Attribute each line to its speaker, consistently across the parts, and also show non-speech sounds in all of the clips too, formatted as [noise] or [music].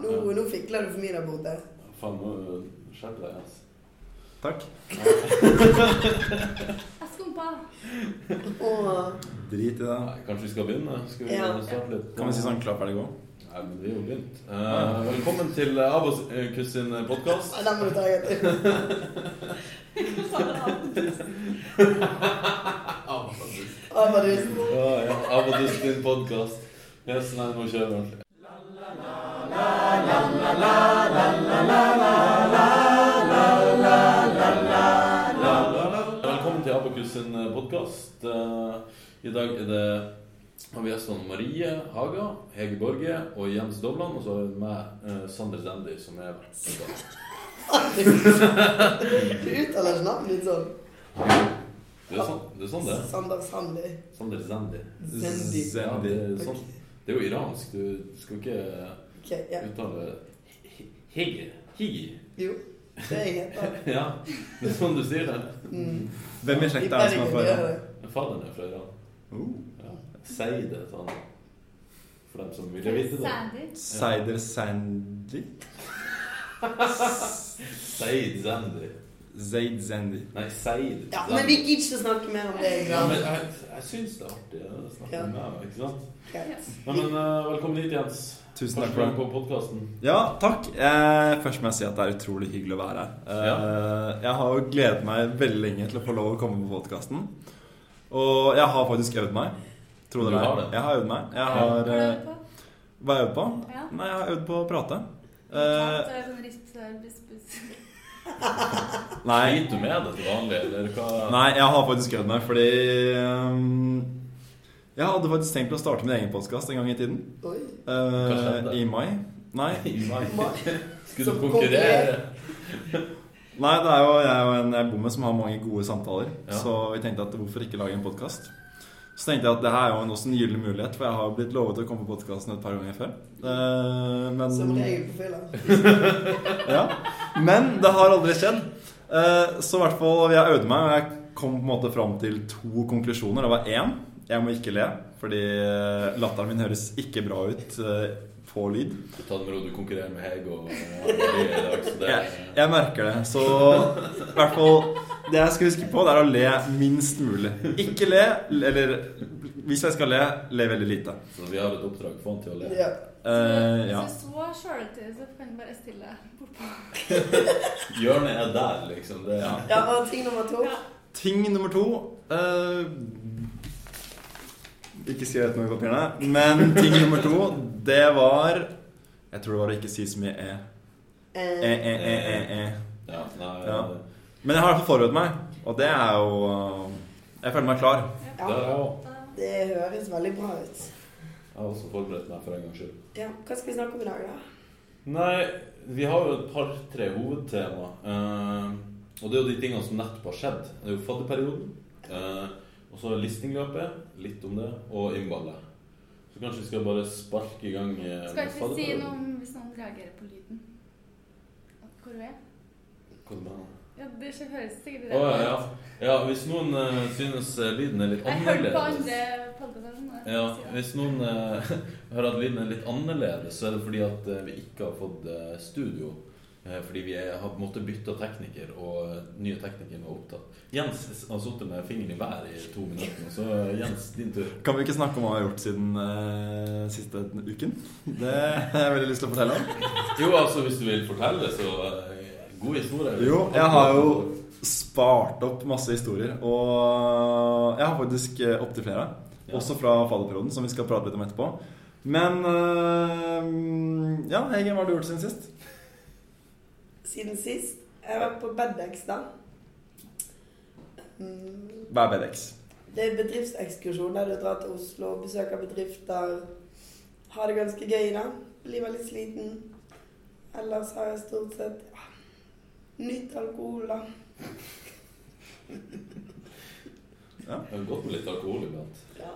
Speaker 1: Nå, nå fikler du for mye der borte.
Speaker 2: Faen, nå skjerp deg, ass.
Speaker 3: Takk.
Speaker 4: Eskompa.
Speaker 1: Åh.
Speaker 3: Drit i det.
Speaker 2: Nei, kanskje vi skal begynne? Skal vi
Speaker 1: Ja.
Speaker 2: starte litt?
Speaker 3: Kan vi si sånn klapp er det gå?
Speaker 2: Nei, men vi er jo begynt. Eh, velkommen til eh, Abbas eh, Kuss sin podkast.
Speaker 1: Nei, den må du ta igjen.
Speaker 4: Hva sa du da?
Speaker 1: Abadus.
Speaker 2: Ja, ja. Abbas sin podkast. Yes, nei, nå kjører vi. Velkommen til Abakus sin podkast. I dag er det har vi gjestene Marie Haga, Hege Borge og Jens Dovland. Og så har vi meg, eh, Sander Zendi, som er vert. i dag.
Speaker 1: Du uttaler ikke navnet ditt sånn.
Speaker 2: Det er sånn det er. Sånn det er.
Speaker 1: Sander Sandi.
Speaker 2: Sander Zendi.
Speaker 1: Zendi.
Speaker 2: Ja, det,
Speaker 3: Zendi.
Speaker 2: er sånn. det er jo iransk. Du skal ikke
Speaker 1: Ok, ja.
Speaker 2: uttale Higge. Higge.
Speaker 1: Jo, det er jeg heter.
Speaker 2: Ja, det er sånn du sier det.
Speaker 1: Mm.
Speaker 3: Hvem i
Speaker 1: Vi
Speaker 3: slekta er det
Speaker 1: pleier
Speaker 3: som
Speaker 1: ikke
Speaker 3: er
Speaker 1: å gjøre
Speaker 3: foran?
Speaker 1: det.
Speaker 2: Faderen er fra Iran.
Speaker 3: Oh.
Speaker 2: Ja. Si det til han. For dem som ville vite det.
Speaker 4: Sandy.
Speaker 3: Seider Sandy?
Speaker 2: Seid Zendi.
Speaker 3: Zaid Zandy.
Speaker 2: Nei, Seid
Speaker 1: Ja, men vi gidder ikke snakke mer om det.
Speaker 2: ja, men
Speaker 1: Graham.
Speaker 2: jeg, jeg syns det er artig å snakke
Speaker 1: Ja.
Speaker 2: med deg, ikke sant?
Speaker 1: Greit.
Speaker 2: Nei, men eh, velkommen hit, Jens.
Speaker 3: Tusen
Speaker 2: Første
Speaker 3: takk for
Speaker 2: gang
Speaker 3: det.
Speaker 2: på podkasten.
Speaker 3: Ja, takk. Eh, først må jeg si at det er utrolig hyggelig å være her. Eh, jeg har jo gledet meg veldig lenge til å få lov å komme på podkasten. Og jeg har faktisk øvd meg. Tro det
Speaker 2: Du har
Speaker 3: eller ei.
Speaker 2: det.
Speaker 3: Jeg har øvd meg. Jeg
Speaker 4: Har
Speaker 3: har
Speaker 4: du
Speaker 3: eh,
Speaker 4: øvd på?
Speaker 3: Hva har jeg øvd på?
Speaker 2: eh,
Speaker 4: Ja.
Speaker 3: Nei, jeg har øvd på å prate.
Speaker 4: Tatt,
Speaker 3: Eh,
Speaker 4: eh, sånn rist, eh, buss, buss.
Speaker 3: nei,
Speaker 2: Sliter du med det til vanlig, eller hva?
Speaker 3: Nei, jeg har faktisk øvd meg, fordi ehm, Jeg hadde faktisk tenkt å starte min egen podkast en gang i tiden.
Speaker 1: Oi.
Speaker 3: eh,
Speaker 2: skjedde?
Speaker 3: I mai. Nei,
Speaker 2: Nei.
Speaker 1: Ma-
Speaker 2: [laughs] Skulle
Speaker 1: Som
Speaker 2: du konkurrere?
Speaker 3: nei, det er jo jeg og en jeg bor med som har mange gode samtaler.
Speaker 2: Ja.
Speaker 3: Så vi tenkte at hvorfor ikke lage en podkast? Så tenkte jeg at det her er jo en- også en gyllen mulighet, for jeg har jo blitt lovet å komme på podkasten et par ganger før. Eh, men
Speaker 1: Som regel på fylla.
Speaker 3: ja. Men det har aldri skjedd. Eh, Så i hvert fall jeg øvde meg, og jeg kom på en måte fram til to konklusjoner. Det var én jeg må ikke le, fordi eh, latteren min høres ikke bra ut eh, på lyd.
Speaker 2: Du tar det med ro, du konkurrerer med Heg og og Marie i dag, så det
Speaker 3: Jeg merker det. Så i hvert fall Det jeg skal huske på, det er å le minst mulig. Ikke le, eller hvis jeg skal le, le veldig lite.
Speaker 2: Så vi har et oppdrag. Få han til å le.
Speaker 1: Ja.
Speaker 3: Eh, ja.
Speaker 4: Så så sjøltid, så kan du bare stille bortpå.
Speaker 2: Hjørnet er der, liksom. Det er
Speaker 1: ja, og ting nummer to.
Speaker 4: Ja.
Speaker 3: Ting nummer to eh, Ikke skrevet noe i papirene. Men ting nummer to, det var Jeg tror det var å ikke si så mye e. E,
Speaker 1: Eh,
Speaker 3: e, e, e, e.
Speaker 2: Ja, nei,
Speaker 3: Ja.
Speaker 2: det-
Speaker 3: Men jeg har i hvert fall forberedt meg, og det er jo eh, Jeg føler meg klar.
Speaker 2: Det har
Speaker 1: ja,
Speaker 2: jeg òg.
Speaker 1: det høres veldig bra ut.
Speaker 2: Jeg har også forberedt meg for en gangs skyld.
Speaker 1: Ja, hva skal vi snakke om i dag, da?
Speaker 2: Nei, vi har jo et par-tre hovedtema. Eh, og det er jo de tingene som nettopp har skjedd. Det er jo fadderperioden. eh, og så listingløpet. Litt om det. Og innballet. Så kanskje vi skal bare sparke i gang eh,
Speaker 4: Skal
Speaker 2: med
Speaker 4: ikke vi si
Speaker 2: fadderperioden.
Speaker 4: noe om hvis noen reagerer på lyden? At Hvor hun er?
Speaker 2: Hva du mener?
Speaker 4: Ja, det skjer- høres
Speaker 2: Å
Speaker 4: sikkert
Speaker 2: ja, ja. ja, hvis noen eh, synes eh, lyden er litt
Speaker 4: Jeg hørte på
Speaker 2: annerledes
Speaker 4: andre podkaster.
Speaker 2: Ja, Hvis noen eh, [laughs] hører at lyden er litt annerledes, så er det fordi at eh, vi ikke har fått eh, studio. Eh, fordi vi er, har måttet bytte tekniker, og eh, nye teknikeren var opptatt. Jens har sittet med fingeren i været i to minutter, nå, så eh, Jens, din tur.
Speaker 3: Kan vi ikke snakke om hva jeg har gjort siden eh, siste uken? Det har jeg veldig lyst til å fortelle om.
Speaker 2: Jo, altså, hvis du vil fortelle, så eh, god historie.
Speaker 3: Jo, jeg har jo- Spart opp masse historier. Og jeg har faktisk eh, opptil flere.
Speaker 2: Ja.
Speaker 3: Også fra fadderperioden, som vi skal prate litt om etterpå. Men eh, Ja, Hege, hva har du gjort siden sist?
Speaker 1: Siden sist. Jeg var på Bedex, da. Mm,
Speaker 3: Hva er BDX?
Speaker 1: Det er bedriftsekskursjon der du drar til Oslo, besøker bedrifter, har det ganske gøy da. Blir veldig sliten. Ellers har jeg stort sett ja, nytt alkohol, da.
Speaker 2: Det er jo godt med litt alkohol iblant.
Speaker 1: Ja.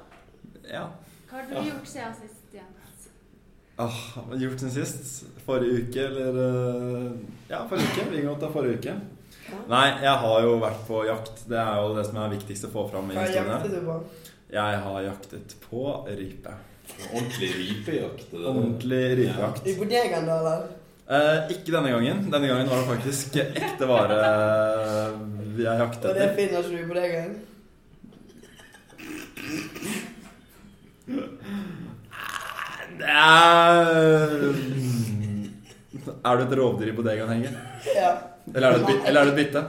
Speaker 3: Ja.
Speaker 4: Hva har du
Speaker 2: Ja.
Speaker 4: gjort siden sist, Jens?
Speaker 3: Åh, Ah, hva har jeg gjort siden sist? Forrige uke, eller eh, Ja, forrige uke. Vi kan godt ta forrige uke. Nei, jeg har jo vært på jakt. Det er jo det som er viktigst å få fram i
Speaker 1: Hva
Speaker 3: historiene.
Speaker 1: jakter du på?
Speaker 3: Jeg har jaktet på rype.
Speaker 2: Ordentlig ripejakt. det der.
Speaker 3: Ordentlig ripejakt.
Speaker 1: I bodegaen, da, eller?
Speaker 3: Eh, ikke denne gangen. Denne gangen var det faktisk ekte vare eh, jeg jaktet
Speaker 1: Og det
Speaker 3: etter.
Speaker 1: finner ikke du i bodegaen?
Speaker 3: Det Er Er du et rovdyr i bodegaen, Henge?
Speaker 1: Ja.
Speaker 3: Eller er du et, by eller er du et bytte?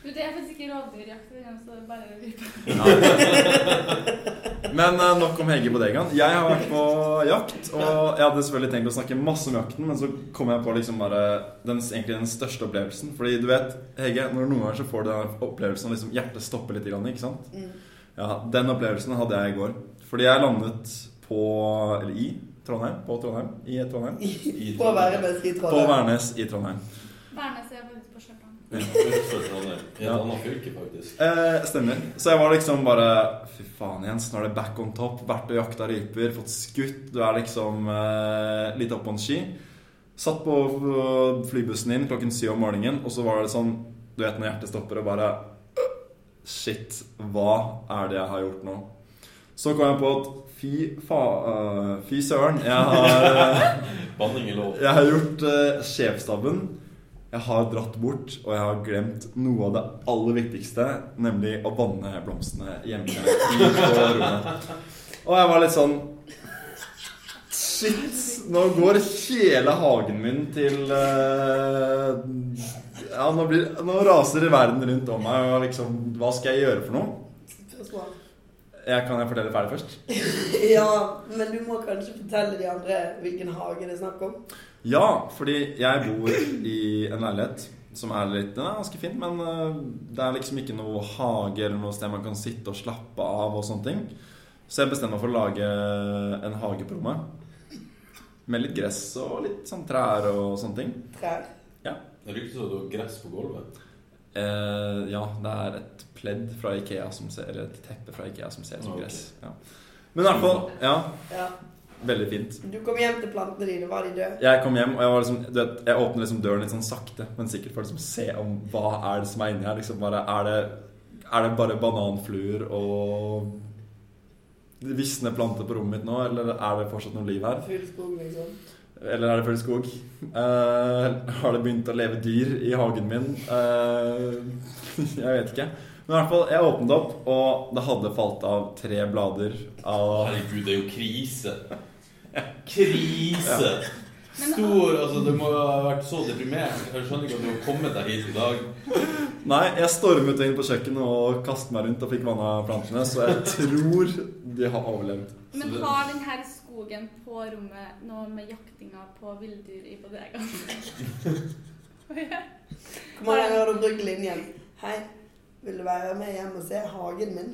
Speaker 4: Du, det er faktisk ikke rovdyrjakt. Det er altså bare
Speaker 3: Men eh, nok om Hege i bodegaen. Jeg har vært på jakt, og jeg hadde selvfølgelig tenkt å snakke masse om jakten, men så kom jeg på liksom bare den, egentlig den største opplevelsen. Fordi du vet, Hege, når noen ganger så får du den opplevelsen av liksom hjertet stopper litt, grann, ikke sant?
Speaker 1: Mm.
Speaker 3: Ja, den opplevelsen hadde jeg i går. Fordi jeg landet på Eller i Trondheim. På Trondheim. I Trondheim.
Speaker 2: I
Speaker 1: På Værnes i
Speaker 3: På
Speaker 1: Trondheim.
Speaker 3: Værnes i Trondheim.
Speaker 4: Værnes er bare ute på Stjørdal.
Speaker 2: Utenfor Trondheim. I et
Speaker 3: Ja.
Speaker 2: annet fylke, faktisk.
Speaker 3: Eh, stemmer. Så jeg var liksom bare Fy faen, Jens, nå er det back on top. Vært og jakta ryper, fått skutt. Du er liksom eh, litt opp på en ski. Satt på på flybussen inn klokken syv om morgenen, og så var det sånn Du vet når hjertet stopper og bare øh, Shit, hva er det jeg har gjort nå? Så kom jeg på at fy fa... øh, fy søren, jeg har eh,
Speaker 2: Banning er lov.
Speaker 3: jeg har gjort uh, sjefstabben. Jeg har dratt bort, og jeg har glemt noe av det aller viktigste, nemlig å vanne blomstene hjemme i på rommet. Og jeg var litt sånn Shit! Nå går hele hagen min til eh, Ja, nå, blir, nå raser verden rundt om meg, og liksom Hva skal jeg gjøre for noe?
Speaker 1: Spørsmål.
Speaker 3: Jeg kan jeg fortelle ferdig først?
Speaker 1: Ja, men du må kanskje fortelle de andre hvilken hage det er snakk om.
Speaker 3: Ja, fordi jeg bor i en leilighet som er litt Den er ganske fin, men eh, det er liksom ikke noe hage eller noe sted man kan sitte og slappe av og sånne ting. Så jeg bestemmer meg for å lage en hage på rommet. Med litt gress og litt sånn trær og sånne ting.
Speaker 1: Trær.
Speaker 2: Det ryktes at du har gress på gulvet.
Speaker 3: Eh, ja, det er et pledd fra Ikea som ser Eller et teppe fra Ikea som ser ut som
Speaker 2: Ok.
Speaker 3: gress. Ja. Men i hvert fall Ja,
Speaker 1: Ja.
Speaker 3: veldig fint.
Speaker 1: Du kom hjem til plantene dine, var de døde?
Speaker 3: Jeg kom hjem, og jeg, var liksom, du vet, jeg åpnet liksom døren litt sånn sakte, men sikkert for å liksom se om hva er det som er inni her. Liksom bare, er, det, er det bare bananfluer og visne planter på rommet mitt nå, eller er det fortsatt noe liv her?
Speaker 1: Full skog, liksom.
Speaker 3: Eller er det full skog? Eh, har det begynt å leve dyr i hagen min? Eh, jeg vet ikke. Men i hvert fall, jeg åpnet opp, og det hadde falt av tre blader av
Speaker 2: Herregud, det er jo krise. Krise!
Speaker 4: Men-
Speaker 2: Stor Altså, det må jo ha vært så deprimerende. Jeg skjønner ikke at du har kommet deg hit i dag.
Speaker 3: Nei, jeg stormet inn på kjøkkenet og kastet meg rundt og fikk vanna plantene, så jeg tror de har overlevd.
Speaker 4: Men
Speaker 2: Så det-
Speaker 4: har den her skogen på rommet noe med jaktinga på villdyr i bodegaen?
Speaker 1: Hvor mange ganger har du brukt linjen? Hei, vil du være med hjem og se hagen
Speaker 3: [laughs]
Speaker 1: min?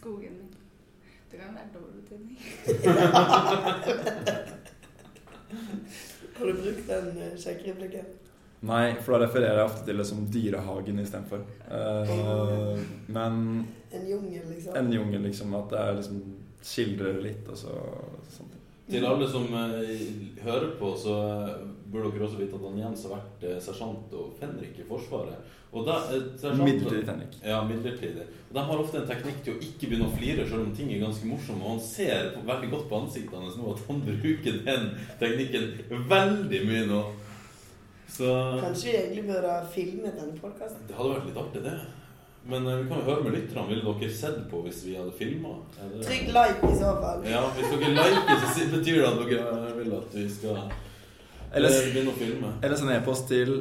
Speaker 4: Skogen min. Det kan være dobbel betydning.
Speaker 1: Har du brukt den eh, kjekke replikken?
Speaker 3: Nei, for da refererer jeg ofte til det som dyrehagen istedenfor. Uh, men
Speaker 1: En jungel, liksom?
Speaker 3: en jungel, liksom. At det er liksom skildrer litt, og så sånne ting.
Speaker 2: Til alle som eh, hører på, så eh, burde dere også vite at han Jens har vært eh, sersjant og fenrik i Forsvaret. Og da, eh, sersjant-
Speaker 3: Midlertidig Henrik.
Speaker 2: Ja, midlertidig. Og De har ofte en teknikk til å ikke begynne å flire selv om ting er ganske morsomme. Og han ser på, veldig godt på ansiktet hans nå at han bruker den teknikken veldig mye nå. Så
Speaker 1: Kanskje vi egentlig burde ha filmet denne podkasten?
Speaker 2: det hadde vært litt artig, det. Men eh, vi kan jo høre med lytterne. Ville dere sett på hvis vi hadde filma?
Speaker 1: Trykk like i så fall.
Speaker 2: Ja, hvis dere liker, så si- betyr det at dere eh, vil at vi skal
Speaker 3: Eller,
Speaker 2: eh, begynne å filme.
Speaker 3: eller send e-post til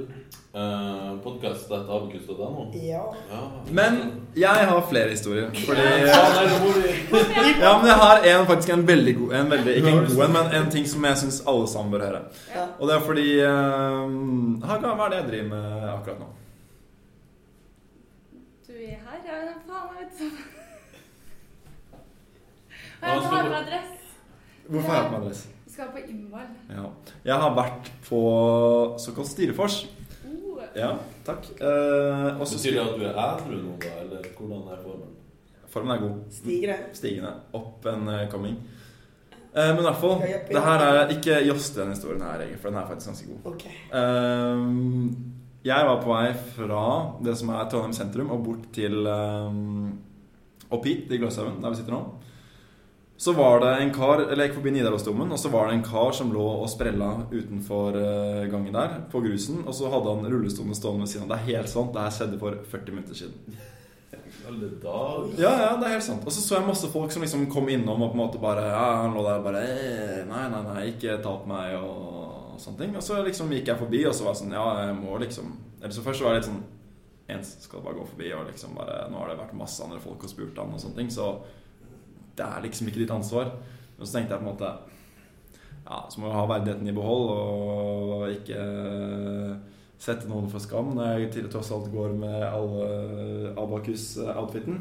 Speaker 2: Uh, Podkast.abkunst.no.
Speaker 1: Ja.
Speaker 2: Ja.
Speaker 3: Men jeg har flere historier.
Speaker 2: Ja,
Speaker 3: Fordi
Speaker 2: nei, nå må vi-
Speaker 3: Ja, men jeg har en, faktisk en veldig god en. Veldig, ikke en god en, men en ting som jeg syns alle sammen bør høre.
Speaker 1: ja.
Speaker 3: Og det er fordi eh, Haga, hva er det jeg driver med akkurat nå?
Speaker 4: Du er her? Ja, men faen, jeg vet ikke. Og
Speaker 2: Ja,
Speaker 4: jeg
Speaker 2: så-
Speaker 4: har på adress.
Speaker 3: Hvorfor har jeg på meg dress?
Speaker 4: Du skal på innball.
Speaker 3: Ja. Jeg har vært på såkalt Styrefors.
Speaker 4: Oh,
Speaker 3: Ja, takk. Eh, og så
Speaker 2: Betyr det at du er ædru nå, da? Eller hvordan er formen?
Speaker 3: Formen er god.
Speaker 1: Stigre.
Speaker 3: Stigende. Opp en eh, coming. Eh, men i hvert fall,
Speaker 1: Ja, ja, ja.
Speaker 3: det her er ikke joss til den historien her, Egil, for den er faktisk ganske god.
Speaker 1: Ok.
Speaker 3: Ehm, jeg var på vei fra det som er Trondheim eh, sentrum, og bort til ehm, opp hit, i Gløshaugen, der vi sitter nå. Så var det en kar, eller jeg gikk forbi Nidarosdomen, og så var det en kar som lå og sprella utenfor eh, gangen der, på grusen. Og så hadde han rullestolen stående ved siden av. Det er helt sant, det her skjedde for 40 minutter siden.
Speaker 2: Alle dager.
Speaker 3: Ja, ja, det er helt sant. Og så så jeg masse folk som liksom kom innom og på en måte bare ja, Han lå der og bare «Eh, Nei, nei, nei, ikke ta på meg og sånne ting. Og så liksom gikk jeg forbi, og så var jeg sånn Ja, jeg må liksom Eller så først så var jeg litt sånn Ens skal bare gå forbi, og liksom bare Nå har det vært masse andre folk og spurt han og sånne ting, så det er liksom ikke ditt ansvar. Men så tenkte jeg på en måte Ja, så må du ha verdigheten i behold og ikke sette noen for skam når jeg til tross alt går med alle Abakus-outfiten.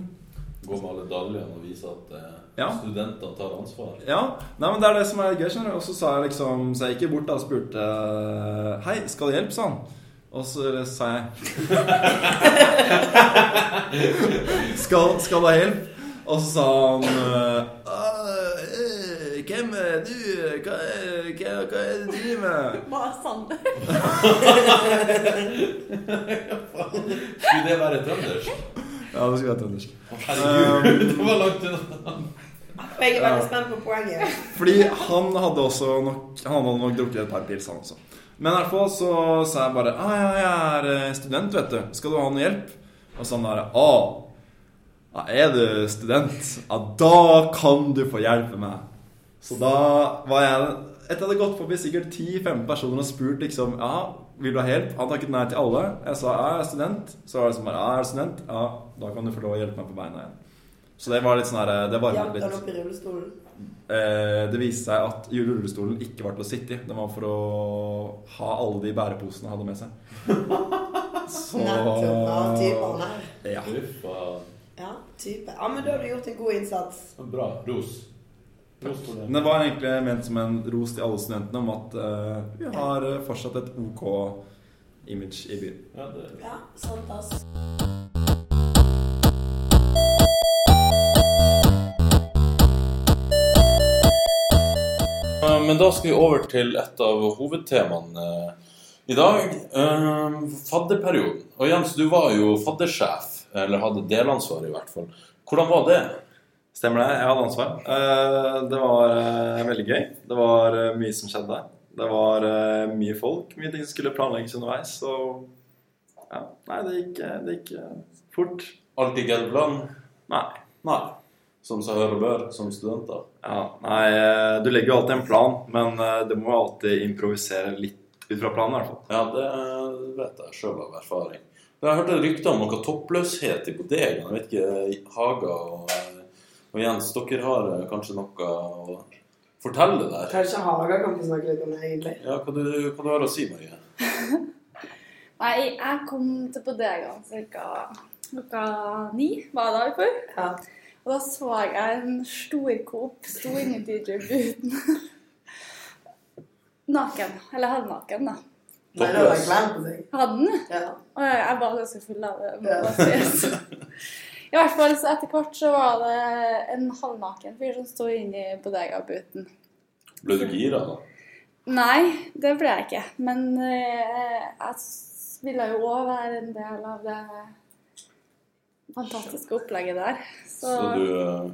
Speaker 2: Gå med alle dagligene og vise at eh,
Speaker 3: Ja.
Speaker 2: studenter tar ansvar.
Speaker 3: Ja, nei, men det er det som er gøy, skjønner du. Og så sa jeg liksom, så jeg gikk bort da og spurte Hei, skal du hjelpe, sa han. Og så sa jeg skal, skal du ha hjelp? Og så sa han «Øh, øh, Hvem er du? Hva er, hva, hva er det du driver med?
Speaker 4: Hva er Sander?
Speaker 2: Skulle det være trøndersk?
Speaker 3: Ja, det skulle vært trøndersk. Um.
Speaker 2: Herregud, [laughs] det var langt unna.
Speaker 1: Og jeg er veldig spent på poenget.
Speaker 3: Fordi han hadde også nok Han hadde nok drukket et par pils, han også. Men i hvert fall så sa jeg bare ah, ja, jeg er eh, student, vet du. Skal du ha noe hjelp? Og så han derre Å, ja, er du student? Ja, da kan du få hjelpe meg. Så da var jeg Etter jeg hadde gått forbi sikkert 10-15 personer og spurt liksom Ja, vil du ha hjelp? Han takket nei til alle. Jeg sa ja, jeg er student. Så var det sånn bare Ja, jeg er student. Ja, da kan du få lov å hjelpe meg på beina igjen. Så det var litt sånn her Det varmet
Speaker 1: Hjalp
Speaker 3: litt.
Speaker 1: han opp i rullestolen?
Speaker 3: Eh, Det viste seg at rullestolen ikke var til å sitte i. Den var for å ha alle de bæreposene han hadde med seg. Så
Speaker 1: Nettopp. Ja, type han er.
Speaker 3: Ja.
Speaker 2: Uffa.
Speaker 1: Ja, type. Ja, men da har du gjort en god innsats.
Speaker 2: Bra. Ros. Ros for det.
Speaker 3: Men det var egentlig ment som en ros til alle studentene om at eh, vi har eh, fortsatt et OK image i byen.
Speaker 2: Ja, det
Speaker 1: Ja, sant ass.
Speaker 2: Eh, Men da skal vi over til et av hovedtemaene eh, i dag. Eh, Fadderperioden. Og Jens, du var jo faddersjef, eller hadde delansvar i hvert fall. Hvordan var det?
Speaker 3: Stemmer det. Jeg hadde ansvar. Eh, Det var eh, veldig gøy. Det var eh, mye som skjedde. Det var eh, mye folk, mye ting som skulle planlegges underveis. Så ja. Nei, det gikk, eh, det gikk eh, fort.
Speaker 2: Alt gikk etter planen?
Speaker 3: Nei.
Speaker 2: Nei. Som seg hør og bør, som studenter.
Speaker 3: Ja, nei, eh, du legger jo alltid en plan, men eh, du må jo alltid improvisere litt ut fra planen i hvert fall.
Speaker 2: Ja, det eh, vet jeg sjøl av erfaring. Men Jeg hørte rykter om noe toppløshet i bodegaen. Jeg vet ikke, Haga og, eh, og Jens, dere har eh, kanskje noe å fortelle der?
Speaker 1: Kanskje Haga kan få snakke litt om det, egentlig.
Speaker 2: Ja, hva du, hva du har å si, Marie?
Speaker 4: Nei, jeg kom til bodegaen cirka klokka ni, var det da i forrige?
Speaker 1: Ja.
Speaker 4: Og da så jeg en storkopp sto inni DJ-booten. [laughs] Naken. Eller halvnaken, da.
Speaker 1: Nei, da var jeg glemt på seg.
Speaker 4: Hadde den.
Speaker 1: Ja.
Speaker 4: Og jeg var ganske full av det. må
Speaker 1: Ja.
Speaker 4: bare sies. [laughs] I hvert fall så etter hvert så var det en halvnaken fyr som sto inni bodega-booten.
Speaker 2: Ble du gira da?
Speaker 4: Nei, det ble jeg ikke. Men eh, jeg s- ville jo òg være en del av det fantastiske opplegget der. Så,
Speaker 2: Så du eh,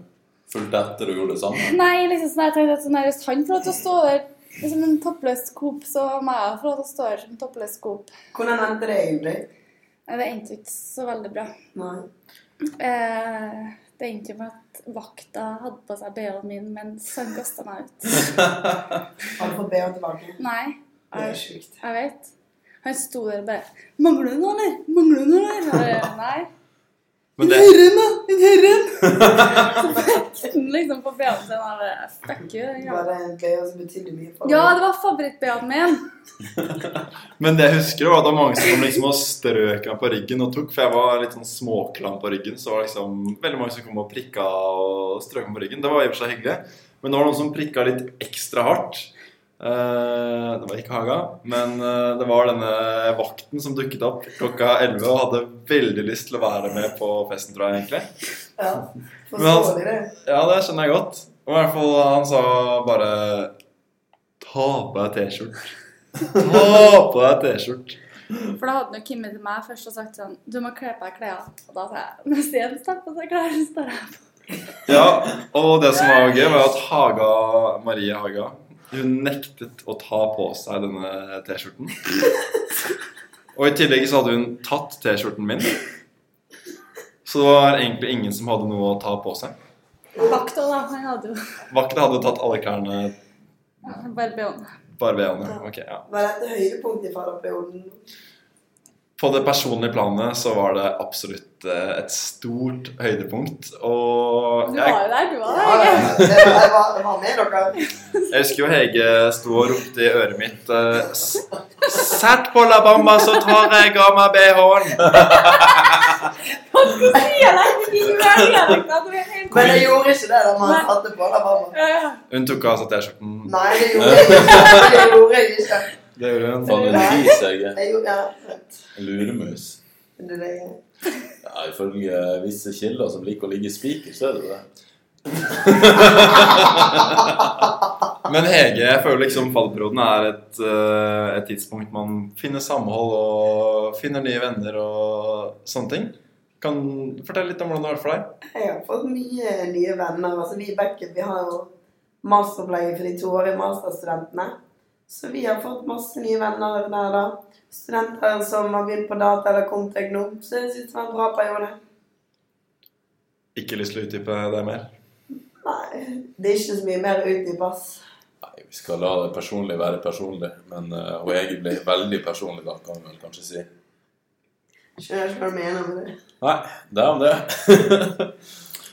Speaker 2: fulgte etter og gjorde det samme?
Speaker 4: Nei, liksom sånn, jeg tenkte at sånn, her, hvis han får lov til å stå der som en toppløs Coop, så må jeg få lov til å stå der som toppløs Coop.
Speaker 1: Hvordan endte det egentlig?
Speaker 4: Nei, Det endte ikke så veldig bra.
Speaker 1: Nei.
Speaker 4: Eh, det endte med at vakta hadde på seg BH-en min mens han kasta meg ut.
Speaker 1: Har du fått BH tilbake?
Speaker 4: Nei,
Speaker 1: Det er
Speaker 4: jeg,
Speaker 1: sjukt.
Speaker 4: jeg vet. Han sto der og bare 'Mangler du noe, eller? Mangler du noe, eller?' Og jeg, Nei.
Speaker 3: Men det,
Speaker 4: Herren, da! En herren! [laughs] liksom på BH-en sin. og jeg bare, Fuck you. den
Speaker 1: Var
Speaker 4: jævla-
Speaker 1: det en BH som betydde mye for
Speaker 4: Ja,
Speaker 1: deg?
Speaker 4: det var favoritt-BH-en min.
Speaker 3: men det jeg husker, var at det var mange som kom liksom og strøk meg på ryggen og tok, for jeg var litt sånn småklam på ryggen, så var det liksom veldig mange som kom og prikka og strøk meg på ryggen. Det var i og for seg hyggelig, men det var noen som prikka litt ekstra hardt. Eh, det var ikke Haga, men eh, det var denne vakten som dukket opp klokka 11 og hadde veldig lyst til å være med på festen, tror jeg egentlig.
Speaker 1: Ja.
Speaker 3: [laughs] Men
Speaker 1: Forstår
Speaker 3: han-
Speaker 1: de det?
Speaker 3: Ja, det skjønner jeg godt. Og i hvert fall han sa bare Ta på deg T-skjort. Ta på deg T-skjort.
Speaker 4: For da hadde jo Kimme [laughs] til meg først og sagt sånn Du må kle på deg klær. Og da sa jeg Hvis jeg ikke tar på seg klær, så tar jeg på.
Speaker 3: Ja, og det som var gøy, var at Haga, Marie Haga hun nektet å ta på seg denne T-skjorten. Og i tillegg så hadde hun tatt T-skjorten min. Så det var egentlig ingen som hadde noe å ta på seg.
Speaker 4: Vakta, da. Han hadde jo
Speaker 3: Vakta hadde tatt alle klærne
Speaker 4: barbeon.
Speaker 3: barberende. Ok, ja.
Speaker 1: Var dette høydepunktet i fadderperioden?
Speaker 3: På det personlige planet så var det absolutt eh, et stort høydepunkt. Og
Speaker 4: Du
Speaker 3: jeg
Speaker 4: var jo der, du var
Speaker 1: Ja,
Speaker 4: der. Hege.
Speaker 1: det, det, var, det var med dere.
Speaker 3: Jeg husker jo Hege sto og ropte i øret mitt eh, s- Sett på La Bamba, så tar jeg av meg BH-en!
Speaker 4: Hva sier deg? Du er dialekta, du er
Speaker 1: [laughs]
Speaker 4: helt
Speaker 1: Men jeg gjorde ikke det da
Speaker 4: Nei.
Speaker 1: man satte på det.
Speaker 3: [laughs]
Speaker 1: Mamma.
Speaker 4: Ja, ja.
Speaker 3: Hun tok av seg T-skjorten.
Speaker 1: Nei, det gjorde
Speaker 3: [laughs]
Speaker 1: jeg ikke. Det gjorde jeg ikke.
Speaker 3: [laughs] Det gjorde hun.
Speaker 2: Faen, en tis, jeg.
Speaker 1: Jeg gjorde, ja.
Speaker 2: En luremus.
Speaker 1: Det er det.
Speaker 2: Ja, ifølge visse kilder som liker å ligge i spiker, så er det det.
Speaker 3: Men Hege, jeg føler liksom fallperioden er et, eh, et tidspunkt man finner samhold og finner nye venner og sånne ting. Kan du fortelle litt om hvordan det har vært for deg?
Speaker 1: Jeg har fått mye nye venner. Altså, vi i Beckett vi har jo masteropplegget for de toårige masterstudentene. Så vi har fått masse nye venner der, da. Studenter som har begynt på data eller Comtegnom. Så jeg syns det var en bra periode.
Speaker 3: Ikke lyst til å utdype det mer.
Speaker 1: Nei, det er ikke så mye mer å utdype, ass.
Speaker 2: Nei, vi skal la det personlig være personlig, men eh, og jeg ble veldig personlig da, kan vi vel kanskje si.
Speaker 1: Skjønner ikke hva du mener med det.
Speaker 2: Nei, det er om det.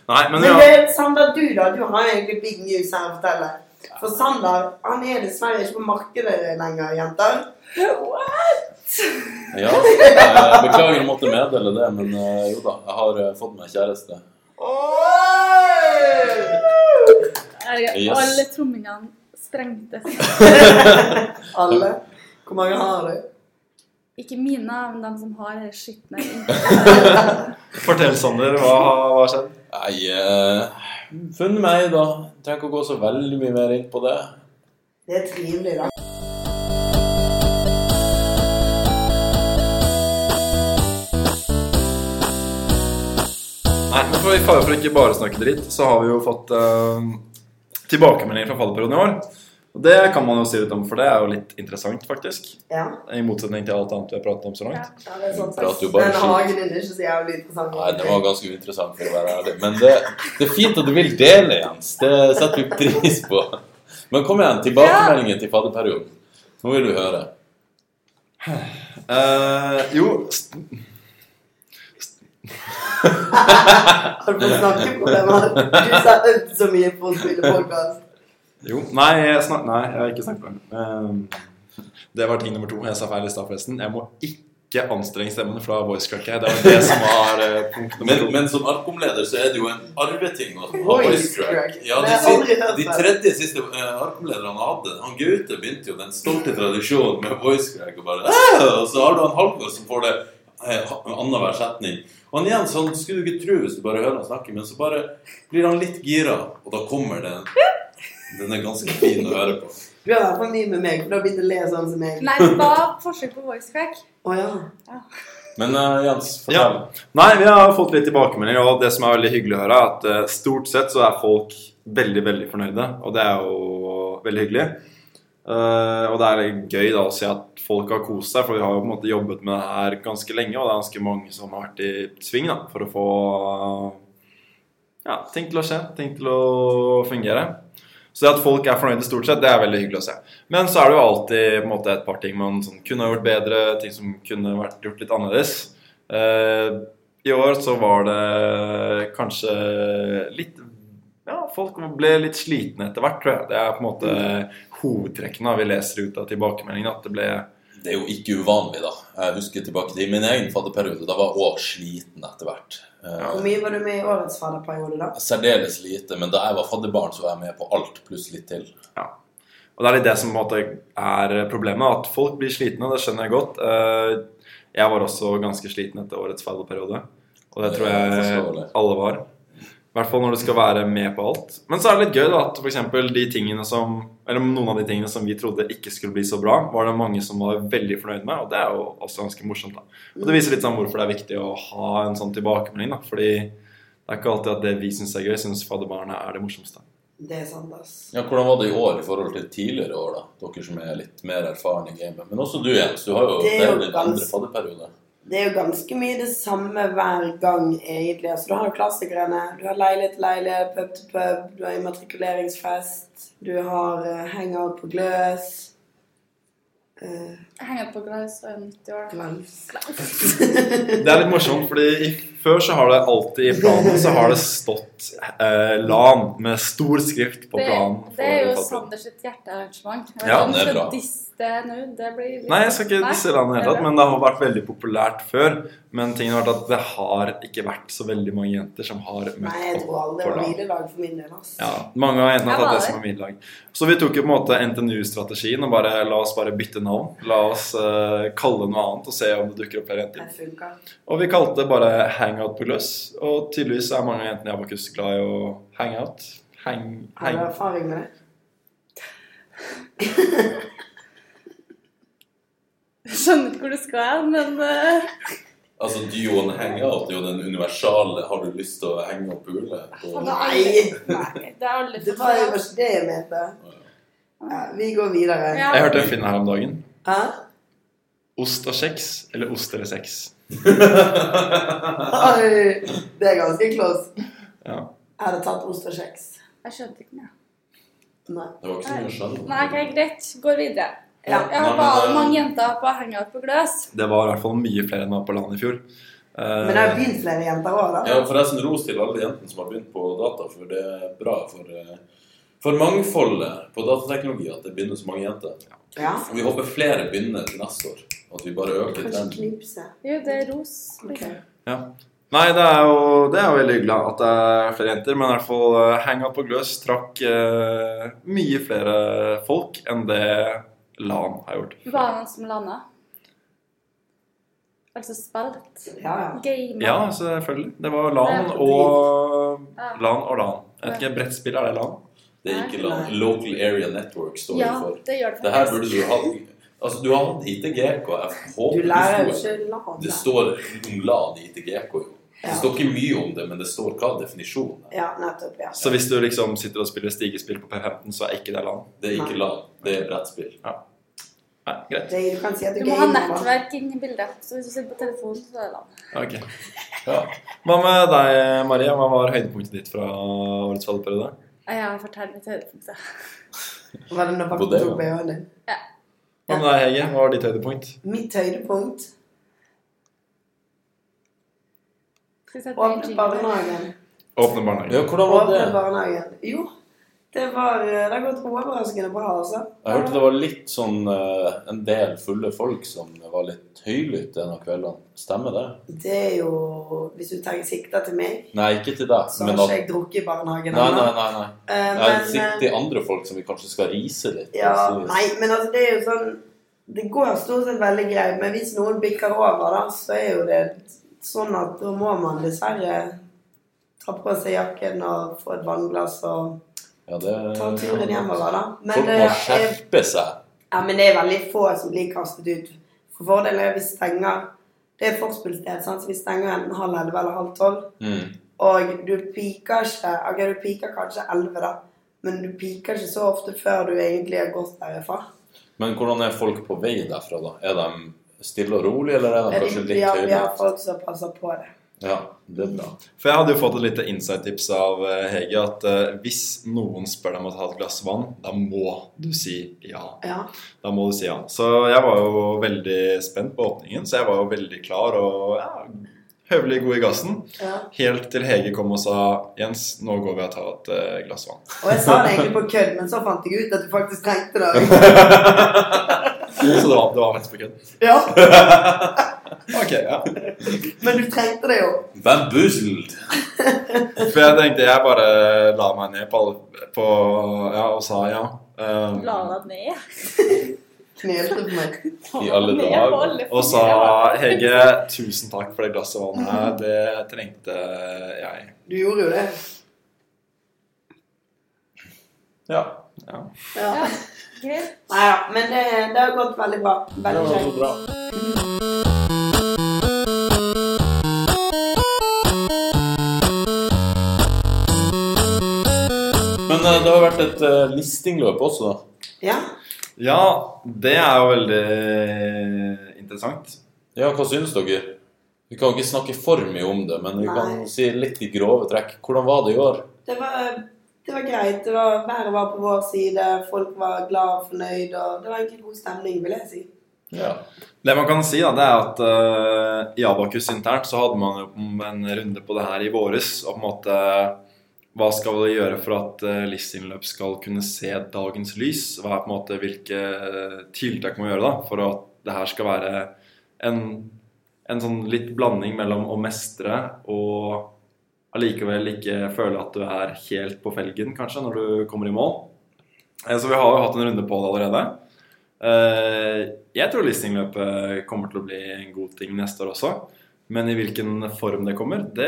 Speaker 3: Nei, men
Speaker 1: Men
Speaker 3: ja.
Speaker 1: det er Sander, du da, du har egentlig big news her å fortelle. For Sander han er dessverre ikke på markedet lenger, jenter.
Speaker 2: Ja, eh, beklager å måtte meddele det, men eh, jo da, jeg har eh, fått meg kjæreste.
Speaker 4: Herregud,
Speaker 2: Yes.
Speaker 4: Alle trommingene sprengtes.
Speaker 1: Alle. Hvor mange har du?
Speaker 4: Ikke mine, men de som har det skitne
Speaker 3: Fortell, Sander. Hva hva har skjedd?
Speaker 2: Nei, eh, funnet meg da. Trenger ikke å gå så veldig mye mer inn på det.
Speaker 1: Det er trivelig, da.
Speaker 3: Nei, men for, i fare for ikke bare å snakke dritt, så har vi jo fått eh, tilbakemeldinger fra fallperioden i år. Og det kan man jo si litt om, for det er jo litt interessant, faktisk.
Speaker 1: Ja.
Speaker 3: I motsetning til alt annet vi har pratet om så langt.
Speaker 1: Ja, det er sant.
Speaker 2: Vi prater jo bare
Speaker 1: Den
Speaker 2: skit.
Speaker 1: hagen din er ikke så jævlig interessant.
Speaker 2: Nei, det var ganske uinteressant for å være ærlig. Men det, det er fint at du vil dele, Jens. Det setter vi pris på. Men kom igjen, tilbakemeldingen til fadderperioden. Nå vil du høre.
Speaker 3: Eh, jo st
Speaker 1: Har du fått snakkeproblemer? Du sa ut så mye på å spille podcast.
Speaker 3: Jo. Nei, jeg snak nei, jeg har ikke snakket om det. Eh, det var ting nummer to. Jeg sa feil i stad, forresten. Jeg må ikke anstrenge stemmen, for da voicecracker jeg. Det var det som var eh, punkt nummer
Speaker 2: Men,
Speaker 3: to.
Speaker 2: men som arkomleder så er det jo en arveting å ha
Speaker 1: Voice
Speaker 2: voice crack.
Speaker 1: crack.
Speaker 2: Ja,
Speaker 1: Det
Speaker 2: de,
Speaker 1: har jeg aldri
Speaker 2: siste,
Speaker 1: hørt
Speaker 2: de
Speaker 1: før.
Speaker 2: tredje siste eh, arkomlederne han hadde Han Gaute begynte jo den stolte tradisjonen med voice crack. Og bare «Æ!» Og så har du han Halvor som får det eh, annenhver setning. Og han Jens han skulle du ikke tro hvis du bare hører han snakke, men så bare blir han litt gira, og da kommer den. Den er ganske fin å høre på.
Speaker 1: Du har vært for mye med meg, for du har begynt å le sånn som meg.
Speaker 4: Nei, det var forsøk på voice crack.
Speaker 1: Å ja.
Speaker 2: Men eh, Jens,
Speaker 3: Ja.
Speaker 2: fortell.
Speaker 3: Nei, vi har fått litt tilbakemeldinger, og det som er veldig hyggelig å høre, er at eh, stort sett så er folk veldig, veldig fornøyde, og det er jo veldig hyggelig. Eh, og det er gøy da å se at folk har kost seg, for vi har jo på en måte jobbet med det her ganske lenge, og det er ganske mange som har vært i sving da, for å få ja, ting til å skje, ting til å fungere. Så det at folk er fornøyde stort sett, det er veldig hyggelig å se. Men så er det jo alltid på en måte, et par ting man sånn, kunne ha gjort bedre, ting som kunne vært gjort litt annerledes. Eh, I år så var det kanskje litt Ja, folk ble litt slitne etter hvert, tror jeg. Det er på en måte hovedtrekkene vi leser ut av tilbakemeldingene. At det ble
Speaker 2: Det er jo ikke uvanlig, da. Jeg husker tilbake til min egen fadderperiode. Da var jeg òg sliten etter hvert. Eh,
Speaker 1: Hvor mye var du med i årets fadderperiode, da?
Speaker 2: Særdeles lite, men da jeg var fadderbarn, så var jeg med på alt pluss litt til.
Speaker 3: Og det er litt det som på en måte er problemet, at folk blir slitne, og det skjønner jeg godt. Eh, Jeg var også ganske sliten etter årets fadderperiode, og det tror
Speaker 2: Det er
Speaker 3: jeg
Speaker 2: forståelig.
Speaker 3: alle var. I hvert fall når du skal være med på alt. Men så er det litt gøy da, at for eksempel de tingene som, eller noen av de tingene som vi trodde ikke skulle bli så bra, var det mange som var veldig fornøyd med, og det er jo også ganske morsomt. da. Og det viser litt sånn hvorfor det er viktig å ha en sånn tilbakemelding, da, fordi Det er ikke alltid at det vi syns er gøy, syns fadderbarna er det morsomste.
Speaker 1: Det er sant, ass.
Speaker 2: Ja, Hvordan var det i år i forhold til tidligere år, da? Dere som er litt mer erfarne i gamet. Men også du, Jens. Du har jo
Speaker 1: Det
Speaker 2: det
Speaker 1: er
Speaker 2: er jo
Speaker 1: jo
Speaker 2: din andre
Speaker 1: ganske-
Speaker 2: fadderperiode.
Speaker 1: Det er jo ganske mye det samme hver gang, egentlig. Altså, du har jo klassikerne. Du har leilighet til leilighet, pub til pub, du har immatrikuleringsfest, du har eh, hangout på Gløs. Eh,
Speaker 4: Jeg henger på glass og er 90 år. da.
Speaker 1: glans.
Speaker 3: Det er litt morsomt, fordi i, før så har det alltid i planen så har det stått eh, LAN med stor skrift på
Speaker 4: Det,
Speaker 3: planen. for
Speaker 4: det er jo sånn-
Speaker 3: fadderbarn.
Speaker 4: Sander sitt hjertearrangement. Jeg vet
Speaker 3: Ja,
Speaker 4: ikke om
Speaker 2: det er
Speaker 4: du skal
Speaker 2: bra.
Speaker 4: disse det nå. Det blir litt-
Speaker 3: Nei, jeg skal ikke
Speaker 4: Nei,
Speaker 3: disse LAN i det
Speaker 4: det er
Speaker 3: hele tatt,
Speaker 4: bra.
Speaker 3: men det har vært veldig populært før. Men tingen har vært at det har ikke vært så veldig mange jenter som har møtt
Speaker 1: Nei, jeg
Speaker 3: opp
Speaker 1: tror aldri det
Speaker 3: for
Speaker 1: var
Speaker 3: LAN.
Speaker 1: hviledag for min del, ass.
Speaker 3: Ja, mange av jentene har
Speaker 4: Jeg
Speaker 3: tatt
Speaker 4: var
Speaker 3: det som en middag. Så vi tok jo på en måte NTNU-strategien og bare la oss bare bytte navn. La oss eh, kalle det noe annet og se om det dukker opp flere jenter.
Speaker 1: Det funka.
Speaker 3: Og vi kalte det bare Hangout på gløss. Og tydeligvis er mange av jentene i Abakus glad i å hang out. Hang,
Speaker 1: Har
Speaker 3: hang.
Speaker 1: du erfaring med det?
Speaker 4: Jeg skjønner ikke hvor du skal hen, men eh,
Speaker 2: Altså, duoen hangout er jo den universale 'har du lyst til å henge opp hullet'? på-
Speaker 4: Faen,
Speaker 1: Nei!
Speaker 4: nei, det er aldri
Speaker 1: Det var jo ikke det jeg mente. Ja, vi går videre.
Speaker 4: Ja.
Speaker 3: Jeg hørte en finne her om dagen.
Speaker 1: Hæ?
Speaker 3: Ost og kjeks, eller ost eller sex.
Speaker 1: Oi, det er ganske close.
Speaker 3: Ja.
Speaker 1: Jeg hadde tatt ost og kjeks.
Speaker 4: Jeg skjønte ikke den, jeg.
Speaker 1: Nei.
Speaker 2: Det var ikke så mye å skjønne.
Speaker 4: Nei, ok, greit. Går videre.
Speaker 1: Ja.
Speaker 4: Jeg har
Speaker 2: Nei, men eh,
Speaker 4: bare
Speaker 3: eh,
Speaker 2: det-
Speaker 4: mange jenter på hangout på gløs.
Speaker 3: Det var i hvert fall mye flere enn det var på landet i fjor. Eh,
Speaker 1: Men det har begynt flere jenter òg, da.
Speaker 2: Ja, forresten ros til alle jentene som har begynt på data, for det er bra for, eh, for mangfoldet på datateknologi at det begynner så mange jenter.
Speaker 1: Ja.
Speaker 2: Og vi håper flere begynner til neste år. At vi bare øker
Speaker 1: Kanskje
Speaker 2: trenden.
Speaker 1: knipse.
Speaker 4: Jo, det er ros.
Speaker 1: Ok.
Speaker 3: Nei, det er, jo, det er jo veldig hyggelig at det er flere jenter, men i hvert fall eh, Hangout på Gløs trakk eh, mye flere folk enn det LAN har gjort.
Speaker 4: Var det noen som landa? Altså spilt?
Speaker 1: Ja, ja.
Speaker 4: Gamet?
Speaker 3: Ja, selvfølgelig. Det var LAN
Speaker 4: Det er
Speaker 3: og
Speaker 4: Ja.
Speaker 3: LAN og LAN. Jeg vet ikke, brettspill, er det LAN?
Speaker 2: Det er ikke land. Local Area Network står
Speaker 4: Ja,
Speaker 2: for.
Speaker 4: det gjør det
Speaker 2: Det her burde du ha Altså, du har hatt ITGK og FH.
Speaker 1: Du lærer jo ikke lag.
Speaker 2: Det står om LAN i ITGK, jo. Det
Speaker 1: Ja.
Speaker 2: står ikke mye om det, men det står hva definisjonen er.
Speaker 1: Ja, nettopp. Ja.
Speaker 3: Så hvis du liksom sitter og spiller stigespill på P15, så er ikke det LAN?
Speaker 2: Det er ikke LAN, det er brettspill.
Speaker 3: Nei, greit.
Speaker 1: Det, du kan si at
Speaker 4: Du
Speaker 1: du
Speaker 4: må ha
Speaker 1: gamer, da.
Speaker 4: nettverk inni bildet. Så hvis du sitter på telefonen, så er det land.
Speaker 3: Ok.
Speaker 2: Ja.
Speaker 3: Hva med deg, Maria? Hva var høydepunktet ditt fra årets fallperiode?
Speaker 4: Ja, fortell litt høydepunkt. da.
Speaker 1: Var det når pappa
Speaker 2: Bodega.
Speaker 1: tok BH-en din?
Speaker 3: Hva med deg, Hege? Hva var ditt høydepunkt?
Speaker 1: Mitt høydepunkt
Speaker 4: Skal vi sette en
Speaker 1: åpne
Speaker 4: jingle?
Speaker 1: barnehagen.
Speaker 3: Åpne barnehagen.
Speaker 2: ja, hvordan var
Speaker 1: Åpne
Speaker 2: det?
Speaker 1: barnehagen. Jo, det var eh, Det har gått overraskende bra, altså.
Speaker 2: Jeg hørte det var litt sånn eh, en del fulle folk som var litt høylytte en av kveldene. Stemmer det?
Speaker 1: Det er jo Hvis du tenker sikta til meg,
Speaker 2: Nei, ikke til deg.
Speaker 1: så har
Speaker 2: Men
Speaker 1: ikke
Speaker 2: at...
Speaker 1: jeg drukket i barnehagen
Speaker 2: Nei,
Speaker 1: ennå.
Speaker 2: nei, nei. nei.
Speaker 1: Eh,
Speaker 2: Jeg
Speaker 1: men,
Speaker 2: sikter til andre folk som vi kanskje skal rise litt.
Speaker 1: eh, ja,
Speaker 2: Så-
Speaker 1: nei, men altså, det er jo sånn Det går stort sett veldig greit, men hvis noen bikker over, da, så er jo det sånn at da må man dessverre ta på seg jakken og få et vannglass og
Speaker 2: Ja, det...
Speaker 1: ta turen hjemover, da. Men,
Speaker 2: Folk må
Speaker 1: eh, jeg-
Speaker 2: skjerpe seg.
Speaker 1: Ja, men det er veldig få som blir kastet ut. For fordelen er at vi stenger Det er et forspillsted, sant? så vi stenger enten halv elleve eller halv tolv.
Speaker 2: Mm.
Speaker 1: Og du piker ikke Ok, du piker kanskje elleve, da. Men du piker ikke så ofte før du egentlig har gått derifra.
Speaker 2: Men hvordan er folk på vei derfra, da? Er de stille og rolig, eller er de
Speaker 1: Men
Speaker 2: kanskje
Speaker 1: vi,
Speaker 2: litt
Speaker 1: har, vi har
Speaker 2: høylytte?
Speaker 1: folk som passer på det.
Speaker 2: Ja, det er bra.
Speaker 3: For jeg hadde jo fått et lite insight-tips av eh, Hege at eh, hvis noen spør deg om å ta et glass vann, da må du si ja.
Speaker 1: Ja.
Speaker 3: Da må du si ja. Så jeg var jo veldig spent på åpningen, så jeg var jo veldig klar og ja, høvelig god i gassen.
Speaker 1: ja.
Speaker 3: Helt til Hege kom og sa Jens, nå går vi og tar et eh, glass vann.
Speaker 1: Og jeg sa det egentlig på kødd, men så fant jeg ut at du faktisk trengte det.
Speaker 3: Så det var, det var faktisk på kødd.
Speaker 1: [laughs] Ja,
Speaker 3: Ok, ja.
Speaker 1: Men du trengte det jo.
Speaker 2: Bamboozled!
Speaker 3: For jeg tenkte jeg bare la meg ned på, alle, på ja, og sa ja. Eh,
Speaker 4: La deg ned.
Speaker 1: Knelte på meg.
Speaker 2: I alle
Speaker 4: Ned på
Speaker 2: dager.
Speaker 4: alle
Speaker 3: Og sa
Speaker 4: fire.
Speaker 3: Hege, tusen takk for det glasset vann her. Det trengte jeg.
Speaker 1: Du gjorde jo det.
Speaker 2: Ja.
Speaker 3: Ja.
Speaker 1: Ja.
Speaker 4: Ja, greit.
Speaker 1: Nei ja, men det, det har gått veldig bra.
Speaker 2: Det
Speaker 1: Veldig
Speaker 2: var så
Speaker 1: kjekt.
Speaker 2: bra. eh, det har vært et eh, listingløp også, da.
Speaker 1: Ja.
Speaker 3: Ja, det er jo veldig interessant.
Speaker 2: Ja, hva syns dere? Vi kan ikke snakke for mye om det, men vi kan
Speaker 1: Nei.
Speaker 2: si litt i grove trekk. Hvordan var det i år?
Speaker 1: Det var, eh, det var greit. Det var, været var på vår side, folk var glad og fornøyd. og Det var egentlig god stemning, vil jeg si.
Speaker 2: Ja.
Speaker 3: Det man kan si, da, det er at eh, i Abakus internt så hadde man jo en runde på det her i våres. Og på en måte Hva skal vi gjøre for at uh, listingløp skal kunne se dagens lys? Hva er på en måte Hvilke eh, tiltak må vi gjøre da for at det her skal være en, en sånn litt blanding mellom å mestre og allikevel ikke føle at du er helt på felgen, kanskje, når du kommer i mål. Eh, Så vi har jo hatt en runde på det allerede. Eh, jeg tror listingløpet kommer til å bli en god ting neste år også. Men i hvilken form det kommer, det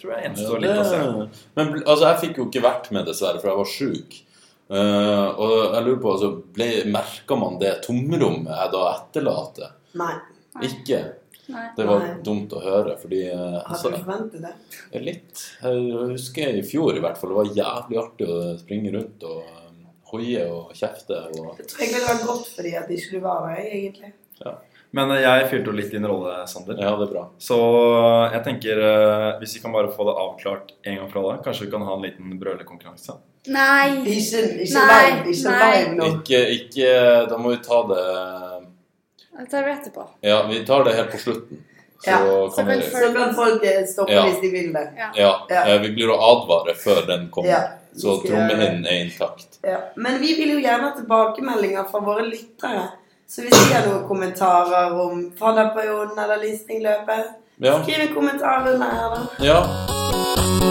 Speaker 3: tror jeg
Speaker 2: Ja,
Speaker 3: gjenstår litt å se.
Speaker 2: det- Men bl- altså, jeg fikk jo ikke vært med, dessverre, for jeg var sjuk. Eh, og jeg lurer på, altså, ble, Merka man det tomrommet jeg da etterlater?
Speaker 1: Nei.
Speaker 4: Nei.
Speaker 2: Ikke?
Speaker 4: Nei.
Speaker 2: Det var
Speaker 1: Nei.
Speaker 2: dumt å høre, fordi eh,
Speaker 1: Hadde du
Speaker 2: altså,
Speaker 1: forventet det?
Speaker 2: Litt. Jeg husker i fjor i hvert fall. Det var jævlig artig å springe rundt og eh, hoie og kjefte og
Speaker 1: Jeg tror egentlig det var godt for dem at ikke du var der, jeg, egentlig.
Speaker 3: Men eh, jeg fylte jo litt din rolle, Sander.
Speaker 2: Ja, det er bra.
Speaker 3: Så jeg tenker, eh, hvis vi kan bare få det avklart en gang for alle, kanskje vi kan ha en liten brølekonkurranse?
Speaker 4: Nei.
Speaker 1: Ikke, ikke
Speaker 4: Nei,
Speaker 1: live, ikke
Speaker 4: nei.
Speaker 1: live nå.
Speaker 2: Ikke, ikke Da må vi ta det
Speaker 4: Det tar vi etterpå.
Speaker 2: Ja, vi tar det helt på slutten. Så
Speaker 1: Ja,
Speaker 2: kan
Speaker 4: så
Speaker 2: vi
Speaker 4: kan
Speaker 1: Så kan folk eh, stoppe
Speaker 2: Ja.
Speaker 1: hvis de vil det.
Speaker 2: Ja.
Speaker 1: Ja.
Speaker 2: eh, Vi blir å advare før den kommer.
Speaker 1: Ja, vi
Speaker 2: så
Speaker 1: skal gjøre det.
Speaker 2: trommehinnen er intakt.
Speaker 1: Ja. Men vi vil jo gjerne ha tilbakemeldinger fra våre lyttere. Så hvis de har noen kommentarer om fadderperioden eller listingløpet,
Speaker 2: Ja.
Speaker 1: skriv en kommentar under her, da.
Speaker 2: ja.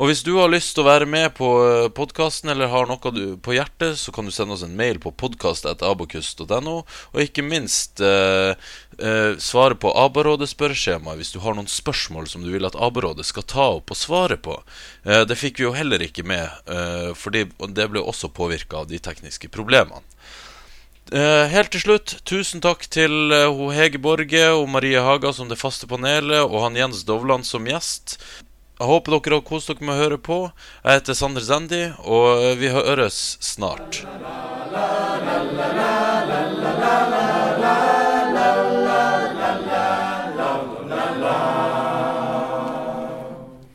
Speaker 2: Og hvis du har lyst til å være med på podkasten eller har noe du, på hjertet, så kan du sende oss en mail på podkast.abokus.no, og ikke minst eh, eh, svare på Abarådet spørreskjema hvis du har noen spørsmål som du vil at Abarådet skal ta opp og svare på. Eh, det fikk vi jo heller ikke med, eh, fordi- og det ble også påvirka av de tekniske problemene. Eh, helt til slutt, tusen takk til eh, ho Hege Borge og Marie Haga som det faste panelet, og han Jens Dovland som gjest. Jeg håper dere har kost dere med å høre på. Jeg heter Sander Zendi, og eh, vi høres snart.